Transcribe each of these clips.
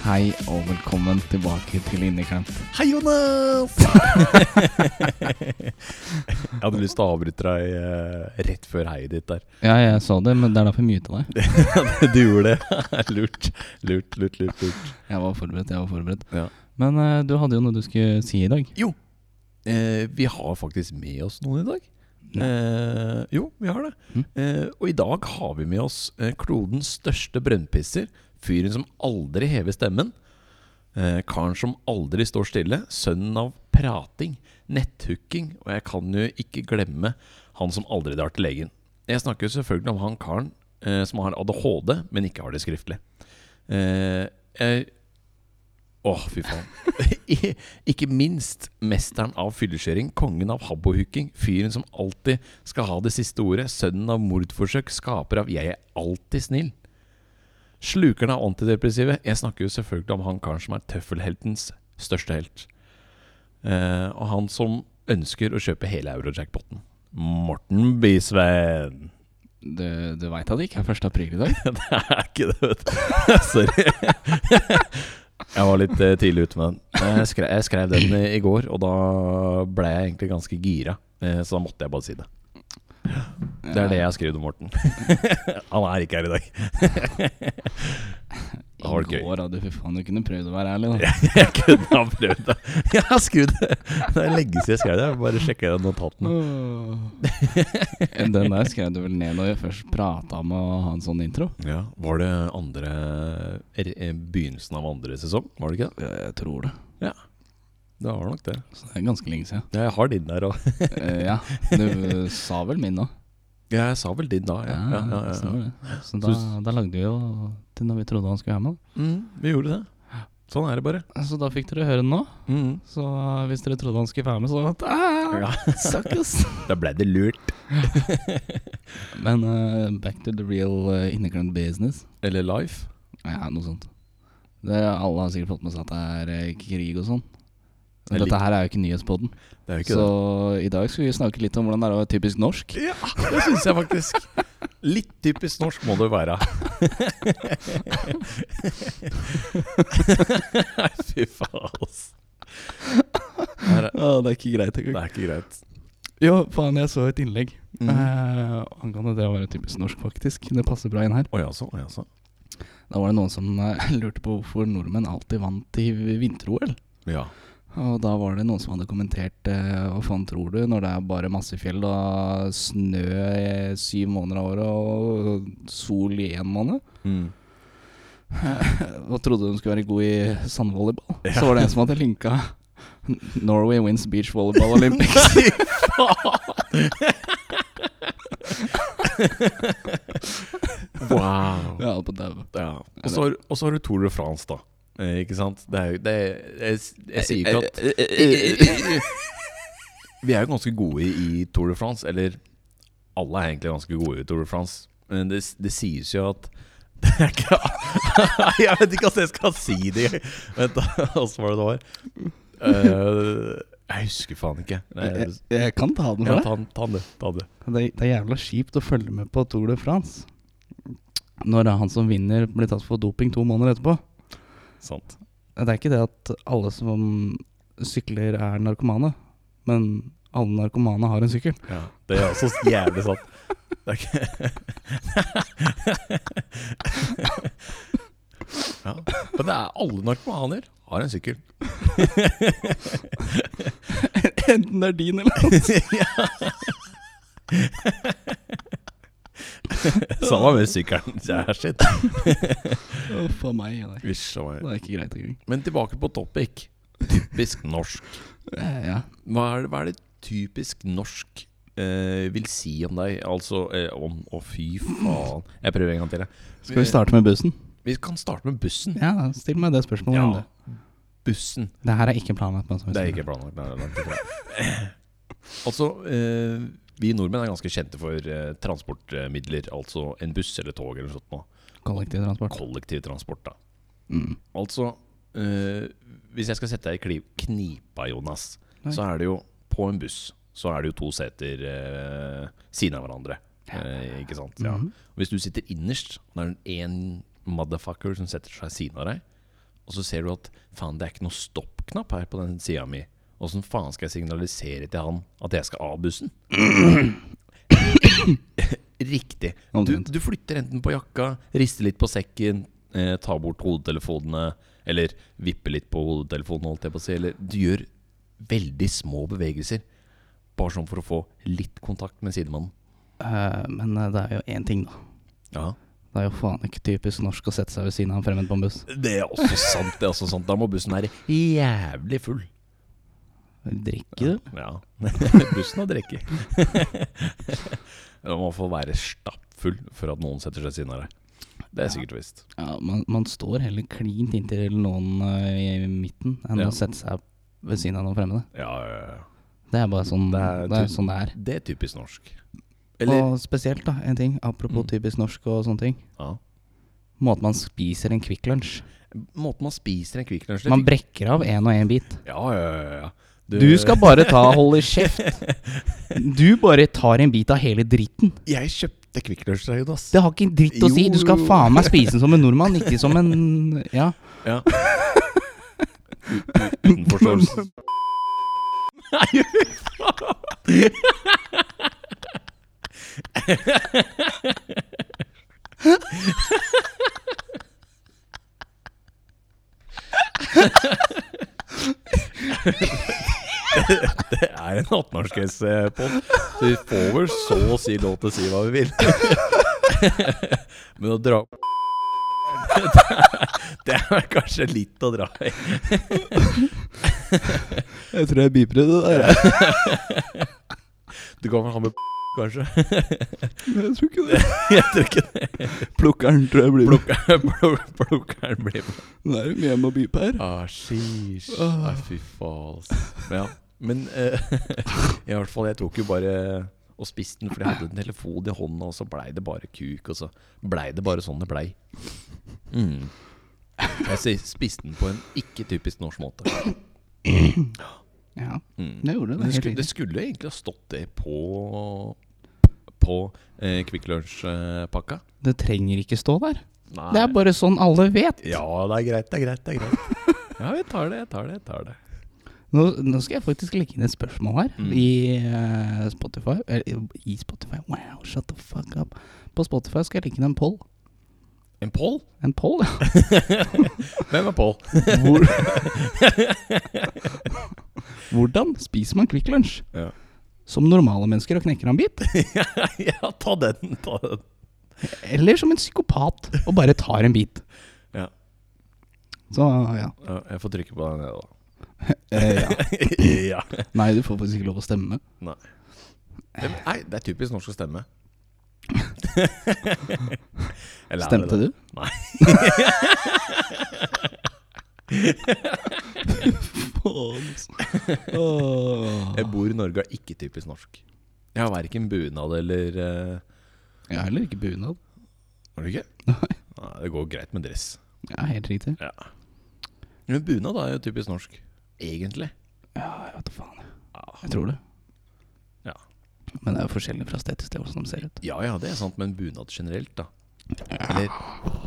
Hei og velkommen tilbake til Inneklemt. Hei, Jonas! jeg hadde lyst til å avbryte deg eh, rett før heiet ditt der. Ja, jeg så det, men det er derfor jeg muta deg. du gjorde det. lurt. Lurt, lurt, lurt. lurt. Jeg var forberedt, jeg var forberedt. Ja. Men eh, du hadde jo noe du skulle si i dag. Jo, eh, vi har faktisk med oss noen i dag. Nei. Eh, jo, vi har det. Mm. Eh, og i dag har vi med oss eh, klodens største brønnpisser. Fyren som aldri hever stemmen. Eh, karen som aldri står stille. Sønnen av prating, netthooking, og jeg kan jo ikke glemme han som aldri drar til legen. Jeg snakker jo selvfølgelig om han karen eh, som har ADHD, men ikke har det skriftlig. Eh, jeg Åh, fy faen. I- Ikke minst mesteren av fyllekjøring, kongen av habbohooking, fyren som alltid skal ha det siste ordet, sønnen av mordforsøk, skaper av 'jeg er alltid snill'. Slukeren av antidepressive. Jeg snakker jo selvfølgelig om han karen som er tøffelheltens største helt. Eh, og han som ønsker å kjøpe hele eurojackpoten. Morten Bisveen. Du, du veit at det ikke er 1. april i dag? Det er ikke det, vet du. Sorry. Jeg var litt eh, tidlig ute med den. Jeg skrev, jeg skrev den i i går, og da ble jeg egentlig ganske gira. Eh, Så da måtte jeg bare si det. Det er det jeg skriver om Morten. Han er ikke her i dag. I Har det gøy. går hadde fy faen, du kunne prøvd å være ærlig, da. Jeg kunne ha prøvd det. Jeg har skrevet det. Det er lenge siden jeg skrev det. Jeg bare sjekker den notaten. Åh. Den der skrev du vel ned når jeg først prata om å ha en sånn intro? Ja, Var det andre er- eh, begynnelsen av andre sesong? Var det ikke det? Jeg tror det. Det var nok det. Så det er ganske lenge siden. Ja, Jeg har din der òg. Eh, ja, du eh, sa vel min nå? Ja, jeg sa vel din da. Ja, ja, ja, ja, ja. stemmer det. Så da, da lagde vi jo til når vi trodde han skulle være med. Mm, vi gjorde det. Mm. Sånn er det bare. da. Så da fikk dere høre den nå. Så eh, hvis dere trodde han skulle være med, så Ja. "Ah, Suckers! Da ble det lurt. Men eh, back to the real uh, inneklemt business. Eller life. Ja, noe sånt. Det, alle har sikkert fått med seg at det er eh, krig og sånn. Men Eller- Dette her er jo ikke nyhetspodden, Det er jo ikke så i dag skal vi snakke litt om hvordan det er å være typisk norsk. det. Ja, det syns jeg faktisk. Litt typisk norsk må det jo være. Fy faen, ass. Her er- Å, det er ikke greit. Det er ikke greit. Jo, faen, jeg så et innlegg Mm. eh, angående det å være typisk norsk, faktisk. Det passer bra inn her. Å jaså, å jaså. Da var det noen som eh, lurte på hvorfor nordmenn alltid vant i vinter-OL. Ja. Og da var det noen som hadde kommentert eh, Hva faen tror du når det er bare masse fjell og snø i syv måneder av året og sol i én måned? Mm. Og trodde de skulle være gode i sandvolleyball. Så var det en som hadde linka Norway wins beach volleyball olympics. Wow. ja, på daua. Ja. Og så har- og så har du Tour de France, da. Eh, ikke sant? Det er jo det er, jeg, s- jeg sier ikke at Vi er jo ganske gode i Tour de France, eller alle er egentlig ganske gode i Tour de France. Men det, det sies jo at det er ikke, Jeg vet ikke hva jeg skal si det Vent, da. Åssen var det det var? Eh, jeg husker faen ikke. Nei, Jeg, jeg kan ta den ja, for deg. ta, den- ta det. Ta det. Det, det er jævla kjipt å følge med på Tour de France når det er han som vinner, blir tatt for doping to måneder etterpå. Sant. Det er ikke det at alle som sykler, er narkomane, men alle narkomane har en sykkel. Ja, det er også jævlig sant. Det er ikke ja. Men det er alle narkomaner har en sykkel. Enten det er din eller Samme med sykkelen. Det er sitt. Uff a meg. Det Usch, det var- er ikke greit engang. Men tilbake på topic. Typisk norsk. Eh, ja. Hva er det, hva er det typisk norsk eh, vil si om deg? Altså eh, om Å, fy faen. Jeg prøver en gang til. jeg. Skal vi starte med bussen? Vi kan starte med bussen. Ja, still meg det spørsmålet. Ja. Rune. Bussen. Det her er ikke planlagt. men som vi Det er sier. ikke planlagt. Nei, det er langt ifra. altså, eh, vi nordmenn er ganske kjente for eh, transportmidler. Altså en buss eller tog eller noe sånt. Nå. Kollektivtransport. Kollektivtransport, da. Mm. Altså, eh, hvis jeg skal sette deg i kli- knipa, Jonas, Nei. så er det jo på en buss så er det jo to seter eh, siden av hverandre. Eh, ikke sant? Ja. Mhm. Og Hvis du sitter innerst, og det er en motherfucker som setter seg siden av deg, og så ser du at faen, det er ikke noe stoppknapp her på den sida mi. Åssen faen skal jeg signalisere til han at jeg skal av bussen? Riktig. Du, Omtrent. du flytter enten på jakka, rister litt på sekken, eh, tar bort hodetelefonene, eller vipper litt på hodetelefonen, holdt jeg på å si. Eller du gjør veldig små bevegelser, bare sånn for å få litt kontakt med sidemannen. Eh, men eh, det er jo én ting, da. Ja. Det er jo faen ikke typisk norsk å sette seg ved siden av en fremmed på en buss. Det er også sant. det er også sant Da må bussen være jævlig full. Drikker du? Ja, Bussen har drikke. Man må få være stappfull for at noen setter seg ved siden av deg. Det er sikkert og visst. Ja, man, man står heller klint inntil noen eh, i, i midten enn Ja. å sette seg ved siden av noen fremmede. Ja, ja, ja. Det er bare sånn det Det er er, sånn det er. Det er typisk norsk. Eller Og spesielt, da, en ting apropos typisk norsk og sånne ting. ja. Måten man spiser en Kvikk Lunsj Måten man spiser en Kvikk Lunsj Man brekker av én og én bit. Ja, ja, ja. ja. Du skal bare ta holde kjeft. Du bare tar en bit av hele dritten. Jeg kjøpte Kvikk Lunsj til deg, Jonas. Det har ikke en dritt å si. Du skal Jo. faen meg spise den som en nordmann, ikke som en Ja. Ja. Uten forståelse. Nei, fy faen! Det er en 18-årsgrense-pod. Så vi får vel så å si lov til å si hva vi vil. Men å dra Det er kanskje litt å dra i. Jeg tror jeg biper i det der. Du kan vel ha med kanskje? Jeg tror ikke det. Jeg tror ikke det. Plukkeren tror jeg blir Plukkeren blir med. Nå er det mye jeg må bipe her. Ah, sheesh. Ah, fy faen. altså. Men ja. Men eh, i hvert fall, jeg tok jo bare og spiste den, for jeg hadde en telefon i hånda, og så blei det bare kuk, og så blei det bare sånn det blei. Mm. Jeg sier, spiste den på en ikke typisk norsk måte. Ja, Mm. det gjorde det. Men det, Helt skulle, det riktig. skulle egentlig ha stått det på På eh, Kvikk Lunsj-pakka. Det trenger ikke stå der. Nei. Det er bare sånn alle vet. Ja, det er greit, det er greit. det er greit Ja, jeg tar det, jeg tar det. jeg tar det Nå, nå skal jeg faktisk legge inn et spørsmål her Mm. i eh, Spotify. Eller i Spotify, wow, shut the fuck up. På Spotify skal jeg legge inn en poll. En Pål? En poll, ja. Hvem er Pål? Hvor, hvordan spiser man Kvikk Lunsj? Ja. Som normale mennesker og knekker en bit? ja, ta den. ta den Eller som en psykopat og bare tar en bit? Ja. Så ja. ja, Jeg får trykke på den, jeg, Eh, ja. da. ja. Nei, du får faktisk ikke lov å stemme. Nei. Det, nei, det er typisk norsk å stemme. Eller er det Stemte det? du? Nei. Faen, Jeg bor i Norge og er ikke typisk norsk. Jeg har verken bunad eller eh, Jeg har heller ikke bunad. Har du ikke? Nei, det går greit med dress. Ja, helt riktig. Ja. Men bunad er jo typisk norsk. Egentlig. Ja, jeg vet da faen. Ja. Jeg tror det. Ah. Ja. Men det er jo forskjellig fra sted til sted hvordan de ser ut. ja ja, det er sant, men bunad generelt, da. Eller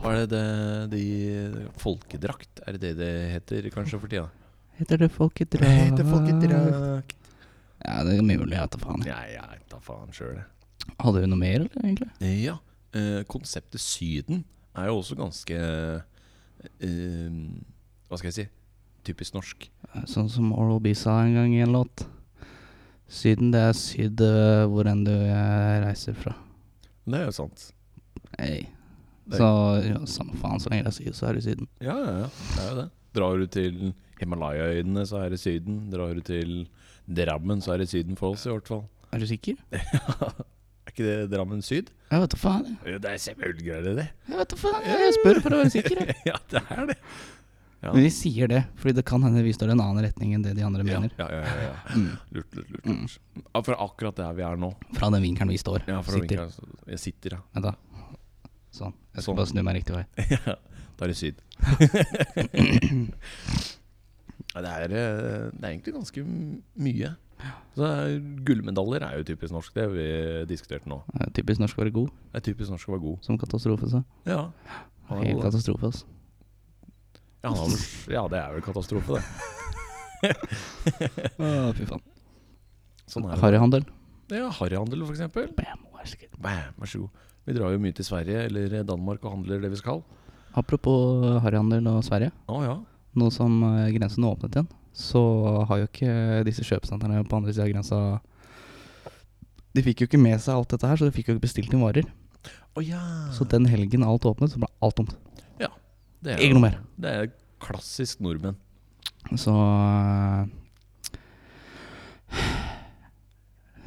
hva er det det de Folkedrakt, er det det det heter kanskje for tida? Heter det Det folkedrakt? heter folkedrakt. Ja, det er mulig. Jeg vet da faen. Nei, jeg vet da faen sjøl, jeg. Hadde du noe mer, eller, egentlig? Ja. eh, konseptet Syden er jo også ganske eh, Hva skal jeg si? Typisk norsk. Sånn som Oral-B sa en gang i en låt. Syden, det er syd eh, hvor enn du eh, reiser fra. Det er jo sant. Hey. Det- Så ja, samme faen, så lenge det er syd, så er det Syden. Ja, ja, ja. Det er jo det. Drar du til Himalaya-øydene, så er det Syden. Drar du til Drammen, så er det Syden for oss, i hvert fall. Er du sikker? er ikke det Drammen syd? Jeg vet da faen. jeg. Jo, det er selvfølgelig er det det. Jeg vet da faen, jeg spør for å være sikker. jeg. ja, det er det. Ja. Men vi sier det, fordi det kan hende vi står i en annen retning enn det de andre Ja, mener. ja, ja, ja, ja. Mm. Lurt, lurt, lurt. lurt. Ja, for akkurat der vi er nå. Fra den vinkelen vi står. Ja, for å sitter. vinke her, så- Jeg sitter, ja. Vent da. Sånn. Jeg Sånn. skal bare snu meg riktig vei. Ja, da er det syd. Ja, det, er, eh, det er egentlig ganske m- mye. Så det er, gullmedaljer er jo typisk norsk, det har vi diskutert nå. Det er Eh, Typisk norsk å være god, Det er typisk norsk å være god. som katastrofe sa. Ja, han er Helt god. da. katastrofe, ass. Ja, han har, ja det er vel katastrofe, det. Å, fy faen. Sånn er det. Harryhandel. Ja, Harryhandel, for eksempel. Bam, vær så god. Bæ, Vær så god. Vi drar jo mye til Sverige eller Danmark og handler det vi skal. Apropos harryhandel og Sverige. Å ja. Nå som eh, grensen er åpnet igjen, så har jo ikke disse kjøpesentrene på andre sida av grensa De fikk jo ikke med seg alt dette her, så de fikk jo ikke bestilt inn varer. Å ja. Så den helgen alt åpnet, så ble alt tomt. Det er, Ikke noe mer. det er klassisk nordmenn. Så eh,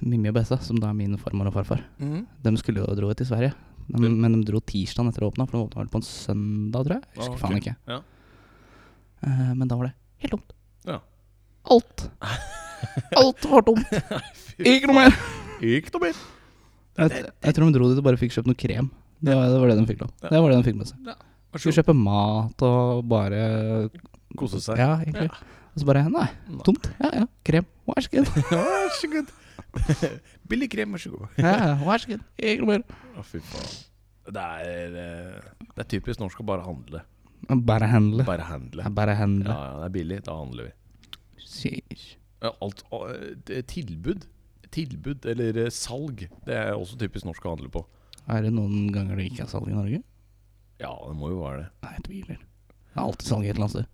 Mimmi og Bessa, som da er min farmor og farfar, Mm. de skulle jo dro til Sverige. De, Ja. Men de dro tirsdag etter det åpna, for de åpna vel på en søndag, tror jeg. Jeg Ah, husker ok. faen ikke. Ja. Eh, Men da var det helt tomt. Ja. Alt. Alt var tomt. Ikke noe mer. Ikke noe mer. Jeg, jeg tror de dro dit og bare fikk kjøpt noe krem. Det var det, var det de fikk lov. Ja. Det var det de fikk med seg. Vær så Skulle god. kjøpe mat og bare Kose seg. Ja, egentlig. Og så bare Nei, Nei. tomt. Ja ja, krem. Vær så god. Vær så god. Billig krem, vær så god. Ja, ja, vær så god. Ikke noe mer. Å, fy faen. Det er, eh, det er typisk norsk å bare handle. Bare handle. Bare handle. Ja, Bare Ja, handle. ja, det er billig. Da handler vi. Sheesh. Ja, Alt å, eh, det- Tilbud. Tilbud eller eh, salg. Det er også typisk norsk å handle på. Er det noen ganger det ikke er salg i Norge? Ja, det må jo være det. Nei, jeg tviler. Det er alltid salg et eller annet sted.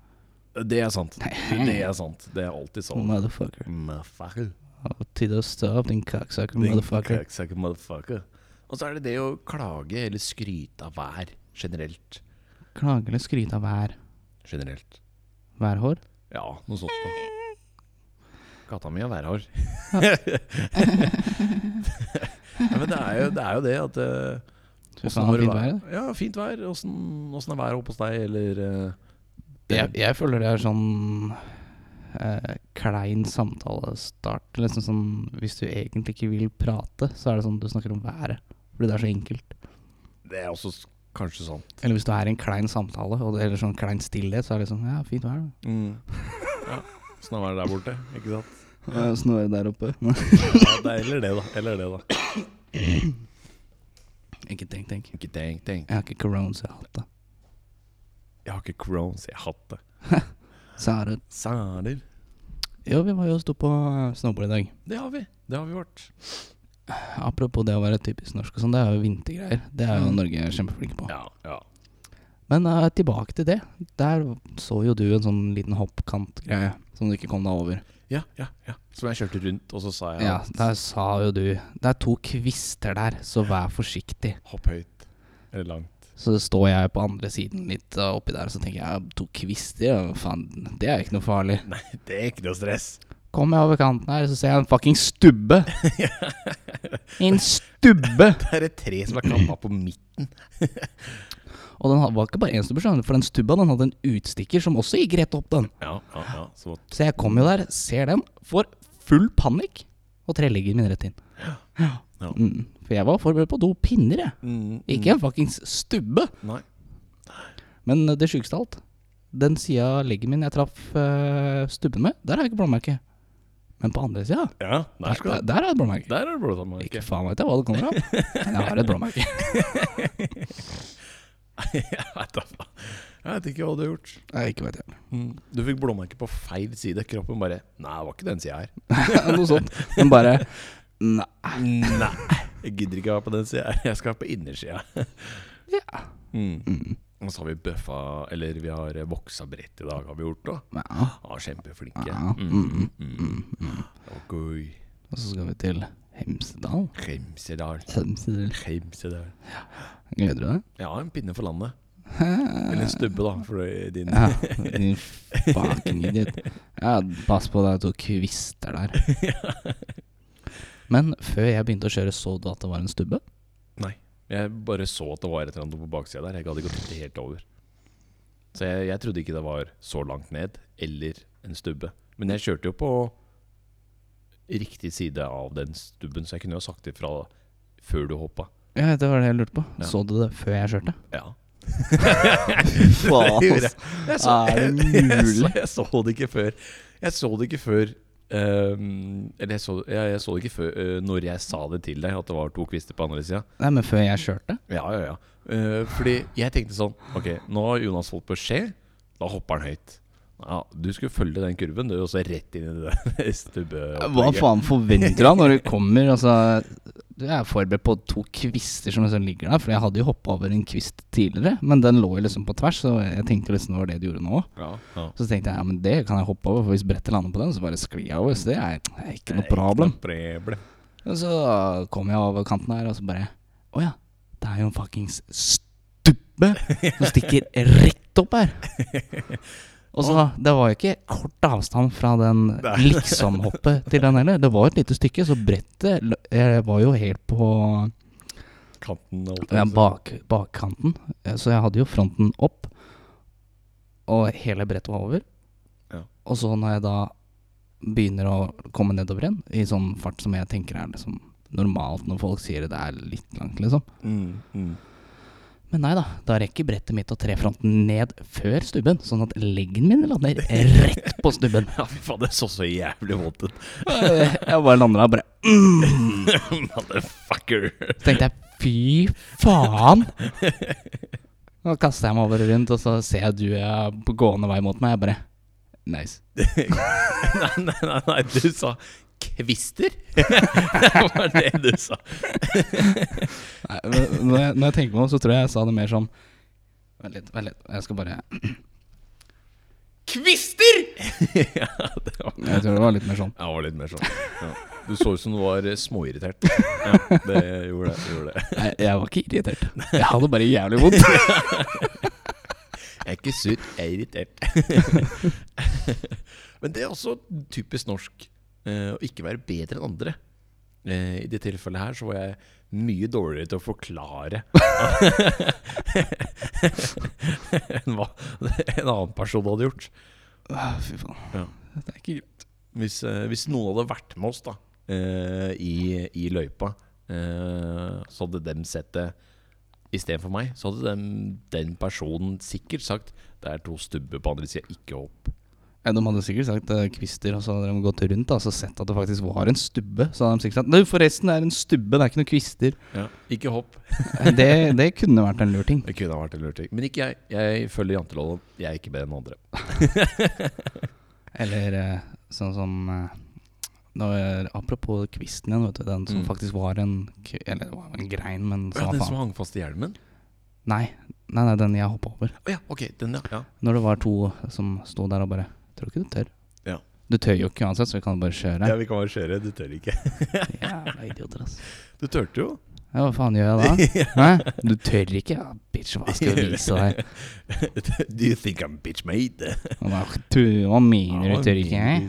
Det er sant. Det er sant. Det er alltid sånn. Mm, salg. Motherfucker. Motherfucker. Og Tid å stå opp, din kaksaker, Din motherfucker. Cocksucker motherfucker. Og så er det det å klage eller skryte av vær generelt. Klage eller skryte av hver Generelt. værhår? Ja, noe sånt. da Katta mi er værhard. ja, men det er jo det, er jo det at eh, Fy åssen faen, har det fint vær, Ja, fint vær. Åssen åssen er været oppe hos deg, eller eh, Jeg, jeg føler det er sånn eh, klein samtalestart. Liksom sånn, hvis du egentlig ikke vil prate, så er det sånn du snakker om været. Fordi det er så enkelt. Det er også s- kanskje sant. Eller hvis du er i en klein samtale, og det, eller sånn klein stillhet, så er det sånn Ja, fint vær, da. Mm. Ja, Åssen er været der borte? Ikke sant? Åssen er det der oppe? Ja, det er, eller det, da. Eller det, da. ikke tenk, tenk. Ikke tenk, tenk. Jeg har ikke corona, så jeg har hatt det. Jeg har ikke crowns, jeg har hatt det. Så er det Sæler. Jo, vi var jo og sto på eh, snowboard i dag. Det har vi. Det har vi vært. Apropos det å være typisk norsk og sånn, det er jo vintergreier. Det er jo Mm. Norge kjempeflinke på. Ja, ja. Men eh, tilbake til det. Der så jo du en sånn liten hoppkantgreie som du ikke kom deg over. Ja, ja, ja. Som jeg kjørte rundt, og så sa jeg Ja, at der sa jo du Det er to kvister der, så vær forsiktig. hopp høyt. Eller langt. Så står jeg på andre siden litt eh, oppi der, så tenker jeg "Ja, to kvister, ja, faen, det er ikke noe farlig. Nei, det er ikke noe stress. Kommer jeg over kanten her, så ser jeg en fucking stubbe. En stubbe! Det er et tre som er klappa på midten. Og den had- var ikke bare én stubbe, skjønner du, for den stubba den hadde en utstikker som også gikk rett opp, den. Ja, ja, ja. Så Så jeg kommer jo der, ser den, får full panikk, og trelligger min rett inn. Ja. Mm, for jeg var forberedt på do pinner, jeg. mm, Ikke en fuckings stubbe. Nei. Men det sjukeste av alt, den sida av leggen min jeg traff eh, stubben med, der har jeg ikke blåmerke. Men på andre sida, Ja, der der, skal der, der har jeg et blåmerke. Der er det blodsammerke. Ikke faen vet jeg hva det kommer av, men jeg har et blåmerke. Jeg vet da faen. Jeg vet ikke hva du har gjort. Nei, ikke vet jeg. Du fikk blåmerke på feil side. Kroppen bare Nei, det var ikke den sida her. Noe sånt. Men bare Nei. Nei. Jeg gidder ikke å være på den sida her. Jeg skal være på innersida. Ja. Mm. Og så har vi bøffa Eller vi har voksa bredt i dag, har vi gjort da. ja. Ja, kjempeflinke. Ja. Mm. Ok. Og så skal vi til Hemsedal. Hemsedal. Hemsedal. Hemsedal. Gleder du deg? Jeg har en pinne for landet. Eller en stubbe, da, for din Ja, din fucking idiot. Ja, pass på det er to kvister der. Men før jeg begynte å kjøre, så du at det var en stubbe? Nei. Jeg bare så at det var et eller annet på baksida der. Jeg gadd ikke å titte helt over. Så jeg, jeg trodde ikke det var så langt ned, eller en stubbe. Men jeg kjørte jo på riktig side av den stubben, så jeg kunne jo sagt ifra før du hoppa. Ja, det var det jeg lurte på. Ja. Så du det før jeg kjørte? Ja. Faen, Det gjorde ass. Jeg så, Er det Jeg så, mulig? jeg så det ikke før Jeg så det ikke før ehm, Eller jeg så, jeg, jeg så det ikke før eh, Når jeg sa det til deg At det var to kvister på andre siden Nei, men før jeg kjørte? Ja, ja, ja Eh, Fordi jeg tenkte sånn Ok, nå har Jonas fått beskjed Da hopper han høyt ja, du skulle følge den kurven Du er også rett inn i det der stubbeopplegget. Hva faen forventer du av når du kommer? Altså, du er forberedt på to kvister som liksom ligger der. For jeg hadde jo hoppa over en kvist tidligere, men den lå jo liksom på tvers. Så jeg tenkte liksom det var det du gjorde nå òg. Ja, ja. Så tenkte jeg ja, men det kan jeg hoppe over, for hvis brettet lander på den, så bare sklir jeg over. Så det er, det er ikke noe problem. Problem. Og så kom jeg over kanten her, og så bare Å ja, det er jo en fuckings stubbe som stikker rett opp her. Og så, Det var jo ikke kort avstand fra den Nei. liksom-hoppet til den heller. Det var et lite stykke, så brettet l- jeg var jo helt på Kanten altså. holdt jeg ja, på å si. bak, bakkanten. Eh, Så jeg hadde jo fronten opp, og hele brettet var over. Ja. Og så når jeg da begynner å komme nedover igjen, i sånn fart som jeg tenker er liksom normalt når folk sier det er litt langt, liksom. mm, mm. Men nei da, da rekker brettet mitt å tre fronten ned før stubben, sånn at leggen min lander rett på stubben. Ja, fy faen, det så så jævlig vondt ut Eh, Jeg bare lander der og bare Mm. Motherfucker Så tenkte jeg fy faen! Nå kaster jeg meg over og rundt, og så ser jeg du er på gående vei mot meg. Jeg bare Nice. nei, nei, nei, nei, du sa kvister. det var det du sa. Nei, men når, jeg, når jeg tenker meg om, så tror jeg jeg sa det mer sånn Vent litt, vent litt. Jeg skal bare Kvister! ja, det var, Jeg tror det var litt mer sånn. jeg var litt mer sånn. Ja. Du så ut som du var eh, småirritert. Ja, det gjorde det. Gjorde det. Nei, jeg var ikke irritert. Jeg hadde bare jævlig vondt. Jeg er ikke sur, jeg er irritert. Men det er også typisk norsk eh, å ikke være bedre enn andre. Eh, I det tilfellet her så var jeg mye dårligere til å forklare enn hva en annen person hadde gjort. Åh, Ah, Fy faen. Ja. Det er ikke greit. Hvis, eh, hvis noen hadde vært med oss da eh, i, i løypa, eh, så hadde dem sett det istedenfor meg. Så hadde dem, den personen sikkert sagt det er to stubber på andre sida, ikke opp. Ja, De hadde sikkert sagt eh, kvister, og så hadde de gått rundt da, og så sett at det faktisk var en stubbe. Så hadde de sikkert sagt Du, forresten, det er en stubbe, det er ikke noen kvister. Ikke hopp. Det, det kunne vært en lur ting. Det kunne ha vært en lurting. Men ikke jeg. Jeg følger janteloven. Jeg er ikke bedre enn andre. Eller eh, sånn som eh, når, Apropos kvisten igjen, vet du. Den som Mm. faktisk var en k- Eller det var en grein, men Ja, samme den faen. som hang fast i hjelmen? Nei, nei, nei, den jeg hoppa over. Å ja, ok. Den, ja. ja. Når det var to som sto der og bare Tror ikke du tør. Ja. Du tør jo ikke uansett, så vi kan bare kjøre. vi kan marsjere. Du tør ikke. Jævla idioter, ass. Du turte jo. Ja, hva faen gjør jeg da? Hæ? Du tør ikke? Ja, bitch, hva skal jeg vise deg? Do you think I'm bitch made? Han bare, «Tu- Hva mener du, tør ikke? jeg?»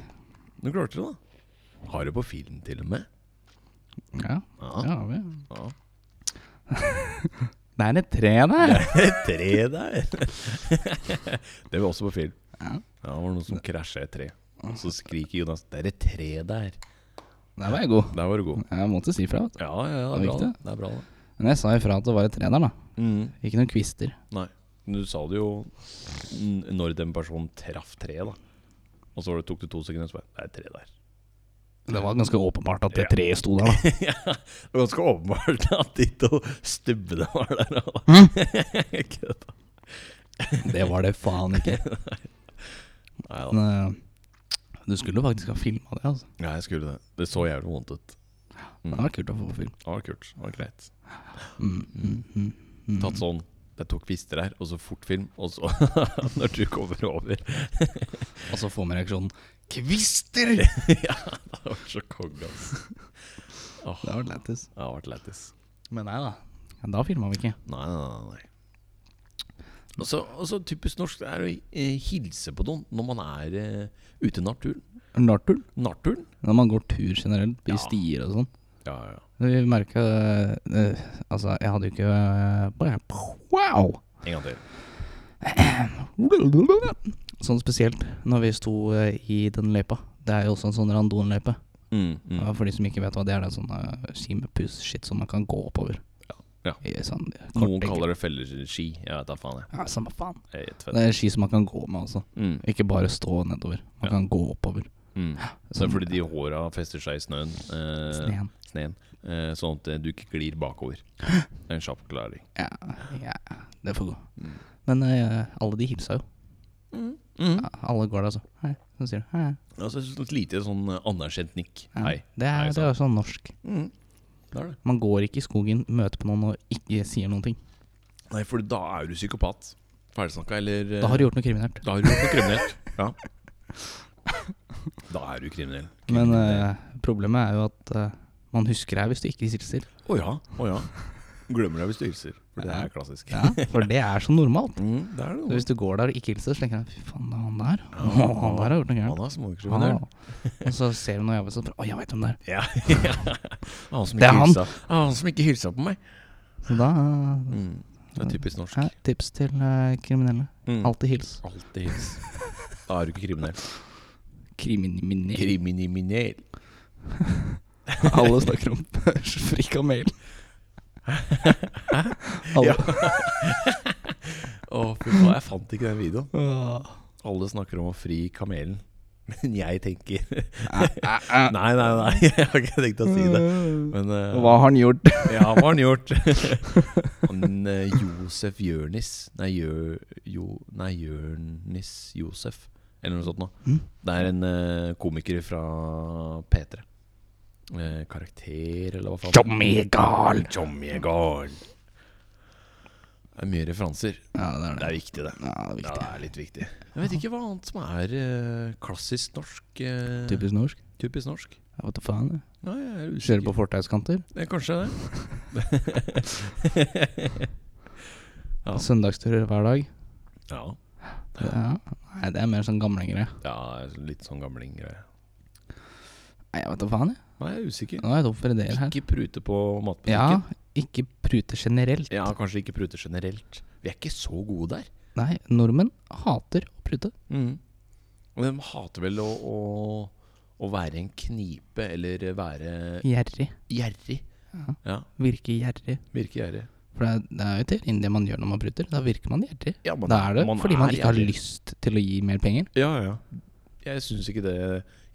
Du klarte det, da. Har det på film, til og med. Ja, Ja. ja vel. ja. Det er et tre der. Et tre der. det var også på film. Ja. Ja, det var noen som krasja et tre. Og så skriker Jonas 'Det er et tre der'. Der var jeg god. Der var du god. Jeg måtte si fra. vet du. Ja, ja, ja, Det var det er bra, det. Det er bra, det. Men jeg sa ifra at det var et tre der, da. Mm. Ikke noen kvister. Nei. Men du sa det jo n- når den personen traff treet, da. Og så var det, tok det to sekunder, så bare Det er et tre der. Det var ganske åpenbart at det Ja. treet sto der, da. ja, det var ganske åpenbart at de to stubbene var der. da. Kødda. Det var det faen ikke. Nei da. Men, eh, du skulle faktisk ha filma det, altså. Ja, jeg skulle det. Det så jævlig vondt ut. Mm. Det var kult å få film. Det var kult. Det var greit. Mm, mm, mm, mm. Tatt sånn Det tok kvister her, og så fort film, og så Når du kommer over Og så får vi reaksjonen 'Kvister!' Ja, det var så konge, altså. Åh, Det det var lættis. har vært lættis. Men nei da. Ja, da filma vi ikke. Nei, nei, nei, nei. Og så- og så typisk norsk det er å eh, hilse på noen når man er eh, ute i naturen. Nartur. Naturen? Når man går tur generelt, i Ja. stier og sånn. Ja, ja, ja. Vi merka Altså, jeg hadde jo ikke eh, bare, Wow! En gang til. Sånn spesielt når vi sto eh, i den løypa. Det er jo også en sånn randonløype. Mm, mm. eh, Ja, for de som ikke vet hva det er, det er sånne ski med puss-shit som man kan gå oppover. Ja. I sånn Noen kaller det felleski. Jeg vet da faen, jeg. Ja, samme faen. jeg vet fett. Det er ski som man kan gå med også. Mm. Ikke bare stå nedover. Man Ja. kan gå oppover. Sånn Mm. Så det er fordi de håra fester seg i snøen. Eh, Sneen. sneen. Eh, sånn at eh, du ikke glir bakover. Det er en kjapp klaring. Ja, ja, det får gå. Mm. Men eh, alle de hilsa jo. Mm. Ja, alle går der, altså. Hei. Så sier du hei. Altså, et sånt lite sånn eh, anerkjent nikk. Ja. Hei. Det er, Hei, det er jo sånn norsk. Mm. Det er det. Man går ikke i skogen, møter på noen og ikke sier noen ting. Nei, for da er du psykopat. Ferdigsnakka, eller eh, Da har du gjort noe kriminelt. da har du gjort noe kriminelt. Ja. Da er du kriminell. Men Kriminell. eh, problemet er jo at eh, man husker deg hvis du ikke sier stille. Å ja. Å ja. Glemmer deg hvis du hilser. For det er klassisk. Ja, for det er så normalt. Mm, det er det. Så hvis du går der og ikke hilser, så tenker jeg fy faen, det er han der. Ja. han der har gjort noe gærent. Han er Han småkriminell. er- Og så ser du noe jævlig sånn Å, jeg veit hvem det er. Ja. han som Det er ikke han. hilsa. Ah, han som ikke hilsa på meg. Så da Mm. Det er typisk norsk. ja, Tips til eh, kriminelle. Mm. Alltid hils. Alltid hils. Da er du ikke kriminell. Kriminell. Kriminell. Alle snakker om frikkamel. Alle. Å, fy faen, jeg fant ikke den videoen. Åh. Alle snakker om å fri kamelen. Men jeg tenker Æ, æ. Nei, nei, nei, jeg har ikke tenkt å si det. Men eh, Hva har han gjort? Ja, hva har han gjort? han eh, Josef Jørnis Nei, Jør... Jo, nei, Jørnis Josef. Eller noe sånt noe. Mm. Det er en eh, komiker fra P3. Eh, karakter, eller hva faen? Tommy Gahl. Tommy Gahl. Det er mye referanser. Ja, det er Det det. er viktig, det. Ja, det er Ja, viktig. det er litt viktig. Jeg vet ikke hva annet som er eh, klassisk norsk. eh, Typisk norsk. typisk norsk. Ja, Hva da faen? jeg. Nei, jeg Kjører er på usikker. fortauskanter. Eh, Kanskje det. Ja. Søndagsturer hver dag. ja. Ja. Nei, det er mer sånn gamlingere. ja, litt sånn gamlinggreie. Nei, jeg vet da faen, jeg. Nei, jeg er usikker. Nå er jeg tom for ideer her. Ikke prute på Ja, matbutikken. ikke prute generelt. Ja. kanskje ikke prute generelt. Vi er ikke så gode der. Nei, nordmenn hater å prute. Mm. Og de hater vel å, å, å være en knipe eller være Gjerrig. gjerrig. Ja. Ja, Virke gjerrig. virke gjerrig. For det er, det er jo til det man gjør når man pruter. Da virker man gjerrig. Ja, man, Da er det fordi man er ikke har gjerrig. lyst til å gi mer penger. Ja, ja. Jeg syns ikke det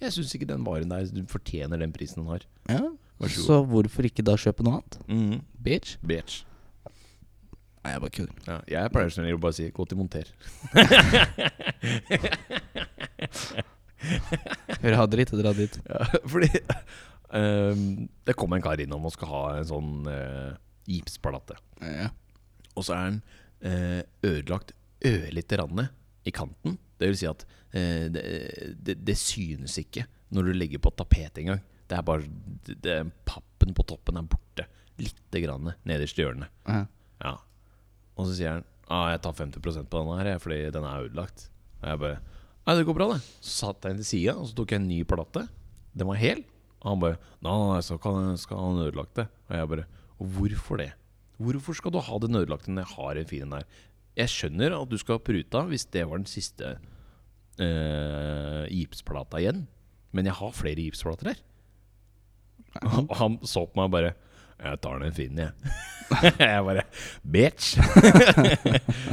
Jeg syns ikke den varen der du fortjener den prisen den har. Ja, Vær så god. Så hvorfor ikke da kjøpe noe annet? Mhm. Bitch. Bitch. Nei, jeg bare kødder. Ja, jeg pleier som regel å bare si 'gå til monter'. Dra dit, dra dit. Ja, fordi ehm, det kom en kar innom og skal ha en sånn eh, gipsplate. Ja. Og så er den eh, ødelagt ørlite grann i kanten. Det vil si at eh, det, det, det synes ikke når du legger på tapet engang. Det er bare det, det, Pappen på toppen er borte. Lite grann nederst i hjørnet. Ja. Ja. Og så sier han ah, jeg tar 50 på denne her, jeg, fordi den er ødelagt. Og jeg bare Nei, det går bra, det. Så satte jeg den til sida, og så tok jeg en ny plate. Den var hel. Og han bare Nei, nei, nei, så kan, skal han ødelagt det. Og jeg bare Og hvorfor det? Hvorfor skal du ha den ødelagte når jeg har en fin en her? Jeg skjønner at du skal ha pruta hvis det var den siste eh, gipsplata igjen. Men jeg har flere gipsplater her. Og han så på meg og bare Jeg tar den fine, jeg. jeg bare Bitch!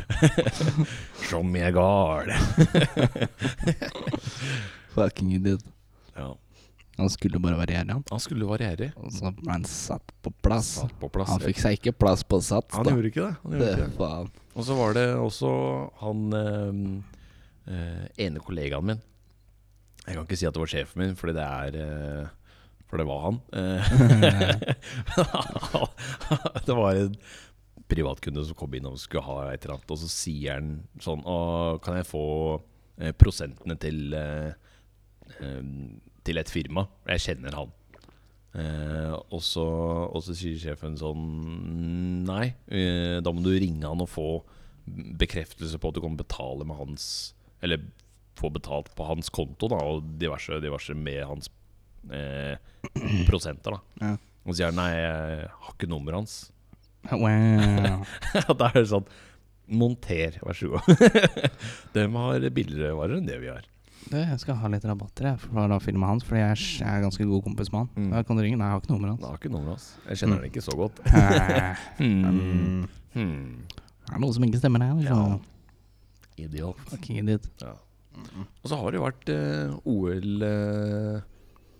Som jeg gal. Fucking idiot. Ja. Han skulle bare være gjerrig, han. Han skulle variere. Og så ble han satt på plass. Satt på plass. Han fikk seg ikke plass på sats, Han da. gjorde ikke det. Han gjorde Det, ikke det. faen. Og så var det også han eh, eh, ene kollegaen min. Jeg kan ikke si at det var sjefen min, fordi det er eh, For det var han. Eh, det var en privatkunde som kom inn og skulle ha et eller annet, og så sier han sånn Å, kan jeg få eh, prosentene til eh, eh, Til et firma? Jeg kjenner han. Eh, og, så, og så sier sjefen sånn Nei, eh, da må du ringe han og få bekreftelse på at du kan betale med hans Eller få betalt på hans konto, da, og diverse, diverse med hans eh, prosenter, da. Ja. Og så sier han nei, jeg har ikke nummeret hans. Wow. Og da er det sånn Monter, vær så god. De har billigere varer enn det vi har. Du, jeg skal ha litt rabatter jeg, fra da filmen hans, fordi jeg er- jeg er ganske god kompis med han. Mm. Ja, Kan du ringe? Nei, jeg har ikke nummeret Det hans. har ikke noen av oss. Jeg kjenner Mm. den ikke så godt. Eh, Hmm. mm, Det er noe som ikke stemmer her. Liksom. Idiot. Fucking idiot. Ja. Mm-hmm. Og så har det jo vært eh, OL eh,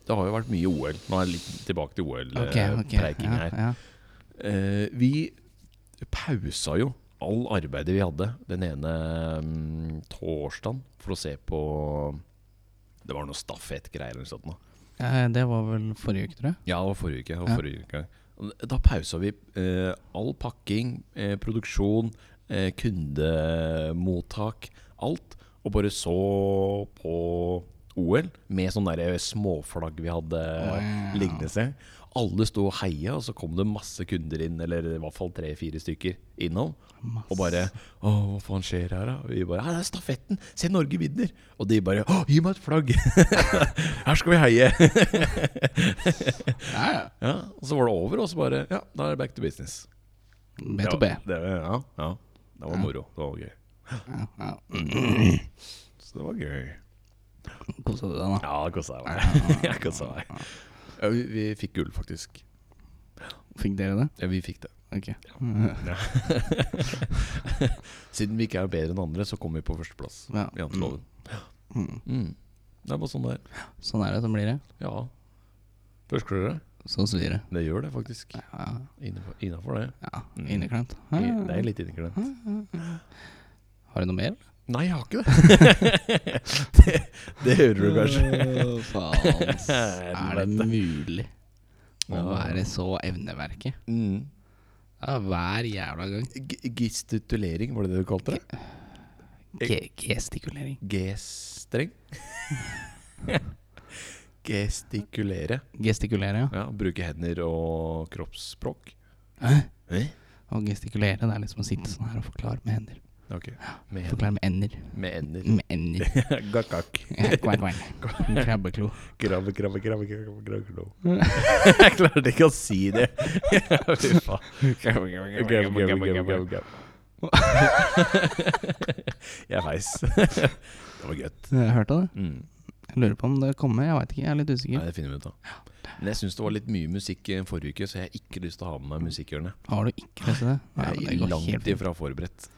Det har jo vært mye OL. Nå er jeg litt tilbake til Ok, ok. OL-preiking Ja, her. ja. Eh, vi pausa jo all arbeidet vi hadde den ene mm, torsdagen for å se på Det var noe stafettgreier eller noe sånt. nå. Eh, Det var vel forrige uke, tror jeg. Ja, det var forrige uke. det var Ja. Forrige uke. Og Da pausa vi eh, all pakking, eh, produksjon, eh, kundemottak, alt. Og bare så på OL med sånne der eh, småflagg vi hadde Wow. liggende seg. Alle sto og heia, og så kom det masse kunder inn, eller i hvert fall tre-fire stykker innom. Masse. Og bare Å, hva faen skjer her, da? Og vi bare Her er stafetten! Se, Norge vinner! Og de bare Å, gi meg et flagg! her skal vi heie! Ja, ja. Ja, og så var det over, og så bare Ja, da er det back to business. B to B. Det var- Det, var- ja, ja. Det var moro. Det var gøy. Ja, ja. Så det var gøy. Kosa du deg, da? Ja, det kosa meg. Jeg kosa meg. Ja, vi, vi fikk gull, faktisk. Fikk dere det? Ja, vi fikk det. Ok. Siden vi ikke er bedre enn andre, så kom vi på førsteplass Ja. i janteloven. Mm. Mm. Det er bare sånn det er. Sånn er det. Sånn blir det. Ja. Førstklører, Så svir det. det gjør det faktisk. Ja, Innafor det. ja. Mm. inneklemt. Ja, ja, I- ja. Det er litt inneklemt. Har du noe mer? Nei, jeg har ikke det. det. Det hører du kanskje. Åh, faen, ass. Er det Helvete. mulig å Ja. være så evneverket? Mm. Ja, hver jævla gang. G- Gestikulering, var det det du kalte det? Ge- Gestikulering. G-streng? Gestikulere. Gestikulere, ja. Ja, Bruke hender og kroppsspråk. Hæ? Eh? Å gestikulere, det er liksom å sitte sånn her og forklare med hender. Ok. Mm. Med, hender. Forklare med ender. Med ender. Med ender. Gakkak. Kvang, kvang. Krabbeklo. Krabbe, krabbe, krabbe, krabbe, krabbe, krabbe. Jeg klarte ikke å si det. Fy faen. Grab, grab, grab, grab, grab. Jeg feis. Det var godt. Jeg hørte det. Mm. Jeg lurer på om det kommer. Jeg veit ikke, jeg er litt Nei, usikker. det finner vi ut av. Men jeg syns det var litt mye musikk eh, forrige uke, så jeg har ikke lyst til å ha med meg musikkhjørnet. Har du ikke lest det? Nei, men det Jeg er går helt langt fint. ifra forberedt.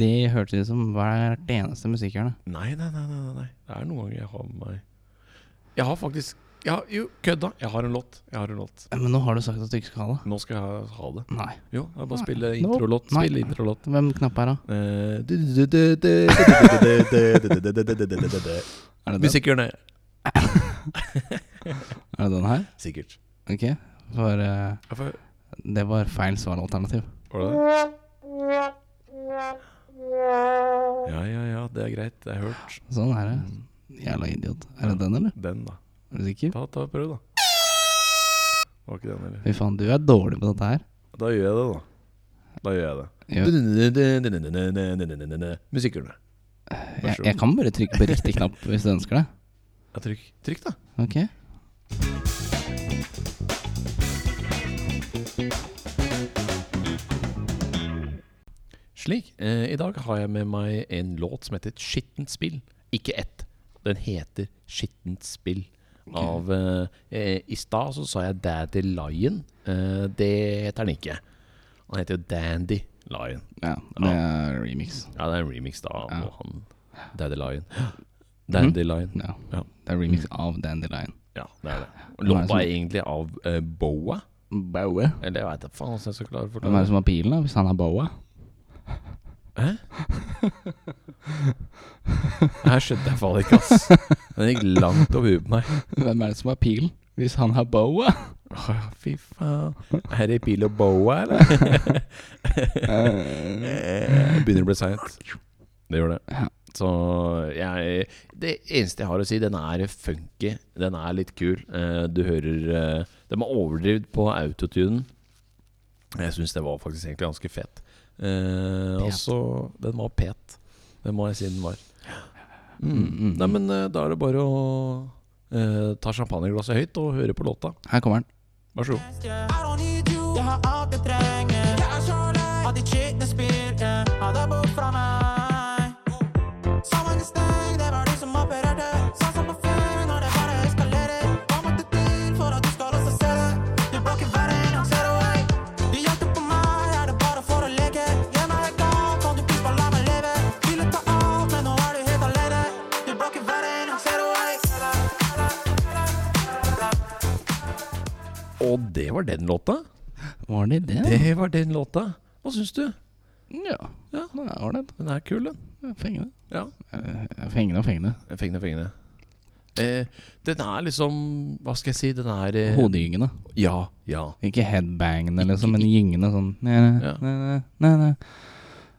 Det hørtes ut som hvert eneste musikkhjørne. Nei, nei, nei, nei, nei, nei. Det er noen ganger jeg har med meg Jeg har faktisk jeg har, Jo, kødda! Jeg har en låt. Jeg har en låt. Men nå har du sagt at du ikke skal ha det. Nå skal jeg ha- ha det. Nei. Jo, det er bare å spille Nei. introlåt. Nei. Spille introlåt. Hvem knapp er det? Eh, du- du- du- du- du- du- du- du- du- du- du- du- du- du- du- du- du- Er det den, Musikkhjørnet. er det den her? Sikkert. Ok. For eh, Ja, for- det var feil svaralternativ. Var det det? Ja, ja, ja. Det er greit. Det er hørt. Sånn er det. Jævla idiot. Er det den, eller? Den, da. Er du sikker? Ta, ta prøv, da. Var ikke den, eller? Fy faen, du er dårlig på dette her. Da gjør jeg det, da. Da gjør jeg det. Jeg, Musikkhjørnet. jeg, jeg kan bare trykke på riktig knapp hvis du ønsker det. Ja, trykk. Trykk, da. Ok? Slik. Eh, I dag har jeg med meg en låt som heter 'Skittent spill'. Ikke ett. Den heter 'Skittent spill'. Av eh, eh, I stad så sa jeg 'Daddy Lion'. Eh, det heter den ikke. Han heter jo 'Dandy Lion'. Ja, det er remix. Ja, det er en remix, da. av Ja. han Daddy Lion. Dandy Lion. Ja. Ja. Det er remix av Dandelion. Ja, det er det. Hvem er det Låta som- er egentlig av eh, Boa. Bowie. Eller jeg veit da faen hvordan jeg skal klare å Hvem er forklare det som har pilen, da? Hvis han er Boa? det her skjønte jeg faen ikke, ass. Den gikk langt over huet på meg. Hvem er det som har pilen? Hvis han har Boa? Å, ja, fy faen. Er det pil og boa, eller? Eh, Begynner å bli seint. Det gjør det. Ja. Så jeg Det eneste jeg har å si, den er funky. Den er litt kul. Eh, Du hører eh, De har overdrevet på autotunen. Jeg syns det var faktisk egentlig ganske fet. Eh, Pet. altså, den var pet. Det må jeg si den var. Mm, Mm. mm, Nei, men eh, da er det bare å eh, ta champagneglasset høyt og høre på låta. Her kommer han. Vær så god. I don't need you, jeg har alt jeg trenger Jeg er så lei av ditt skitne spill yeah. Ha deg bort fra meg Sammen steng, det var du som opererte Og det var den låta. Var det det? Det var den låta. Hva syns du? Ja. ja. Ja. Det var det. Den er kul, den. Fengende. Ja. Eh, Fengende og fengende. Fengende, fengende. Eh, den er liksom Hva skal jeg si? Den er eh, Hodegyngende. Ja, ja. Ikke headbangende, liksom, men gyngende sånn ne, ne, Ja. ne, ne, ne.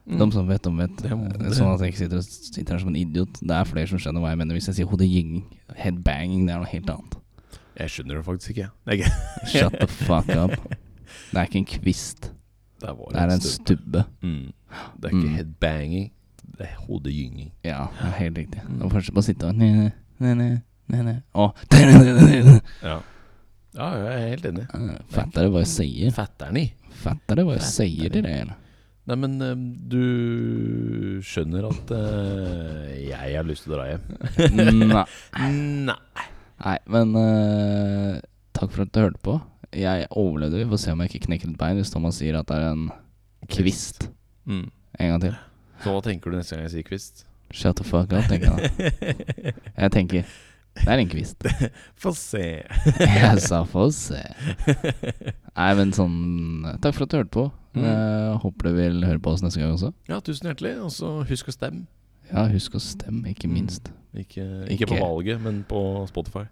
Mm. De som vet, de vet. Det må- Mm. Det er sånn at jeg ikke sitter, og sitter her som en idiot. Det er flere som skjønner hva jeg mener hvis jeg sier hodegyng. Headbanging, det er noe helt annet. Jeg skjønner det faktisk ikke. Det er ikke- Shut the fuck up. Det er ikke en kvist. Der var Det er en stund. stubbe. Mm. Det er ikke Mm. headbanging, det er hodegynging. Ja, det er helt riktig. Det var først på å sitte og ne, ne, ne, ne, ne. Å, ne, ne, ne, ne, ne. Ja. ja, jeg er helt enig. Eh, Fatter du hva jeg sier? Fatter'n i. Fatter du hva jeg sier til deg, eller? Nei, men eh, du skjønner at eh, jeg har lyst til å dra hjem. Nei. Nei. Nei, men eh, takk for at du hørte på. Jeg overlevde. Vi får se om jeg ikke knekker et bein hvis Thomas sier at det er en kvist. Mm. En gang til. Så hva tenker du neste gang jeg sier kvist? Shut the fuck up, tenker jeg da. Jeg tenker det er en kvist. Få se. Jeg sa få se. Nei, men sånn Takk for at du hørte på. Mm. Eh, håper du vil høre på oss neste gang også. Ja, tusen hjertelig. Og så husk å stemme. Ja, husk å stemme, ikke Mm. minst. Ikke, Ikke. ikke på valget, men på Spotify.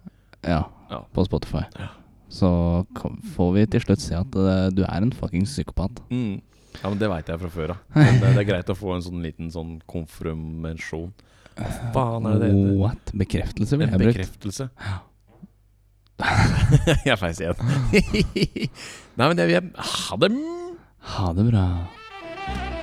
Ja, Ja. på Spotify. Ja. Så kom- får vi til slutt se at eh, du er en fuckings psykopat. Mm. Ja, men Det veit jeg fra før av. Men eh, Det, det er greit å få en sånn liten sånn konfirmasjon. Hva faen er det det heter? What? Bekreftelse, vil En jeg brukt. bekreftelse. jeg feis igjen. Nei, men jeg vil Ha det! Ha det bra. Thank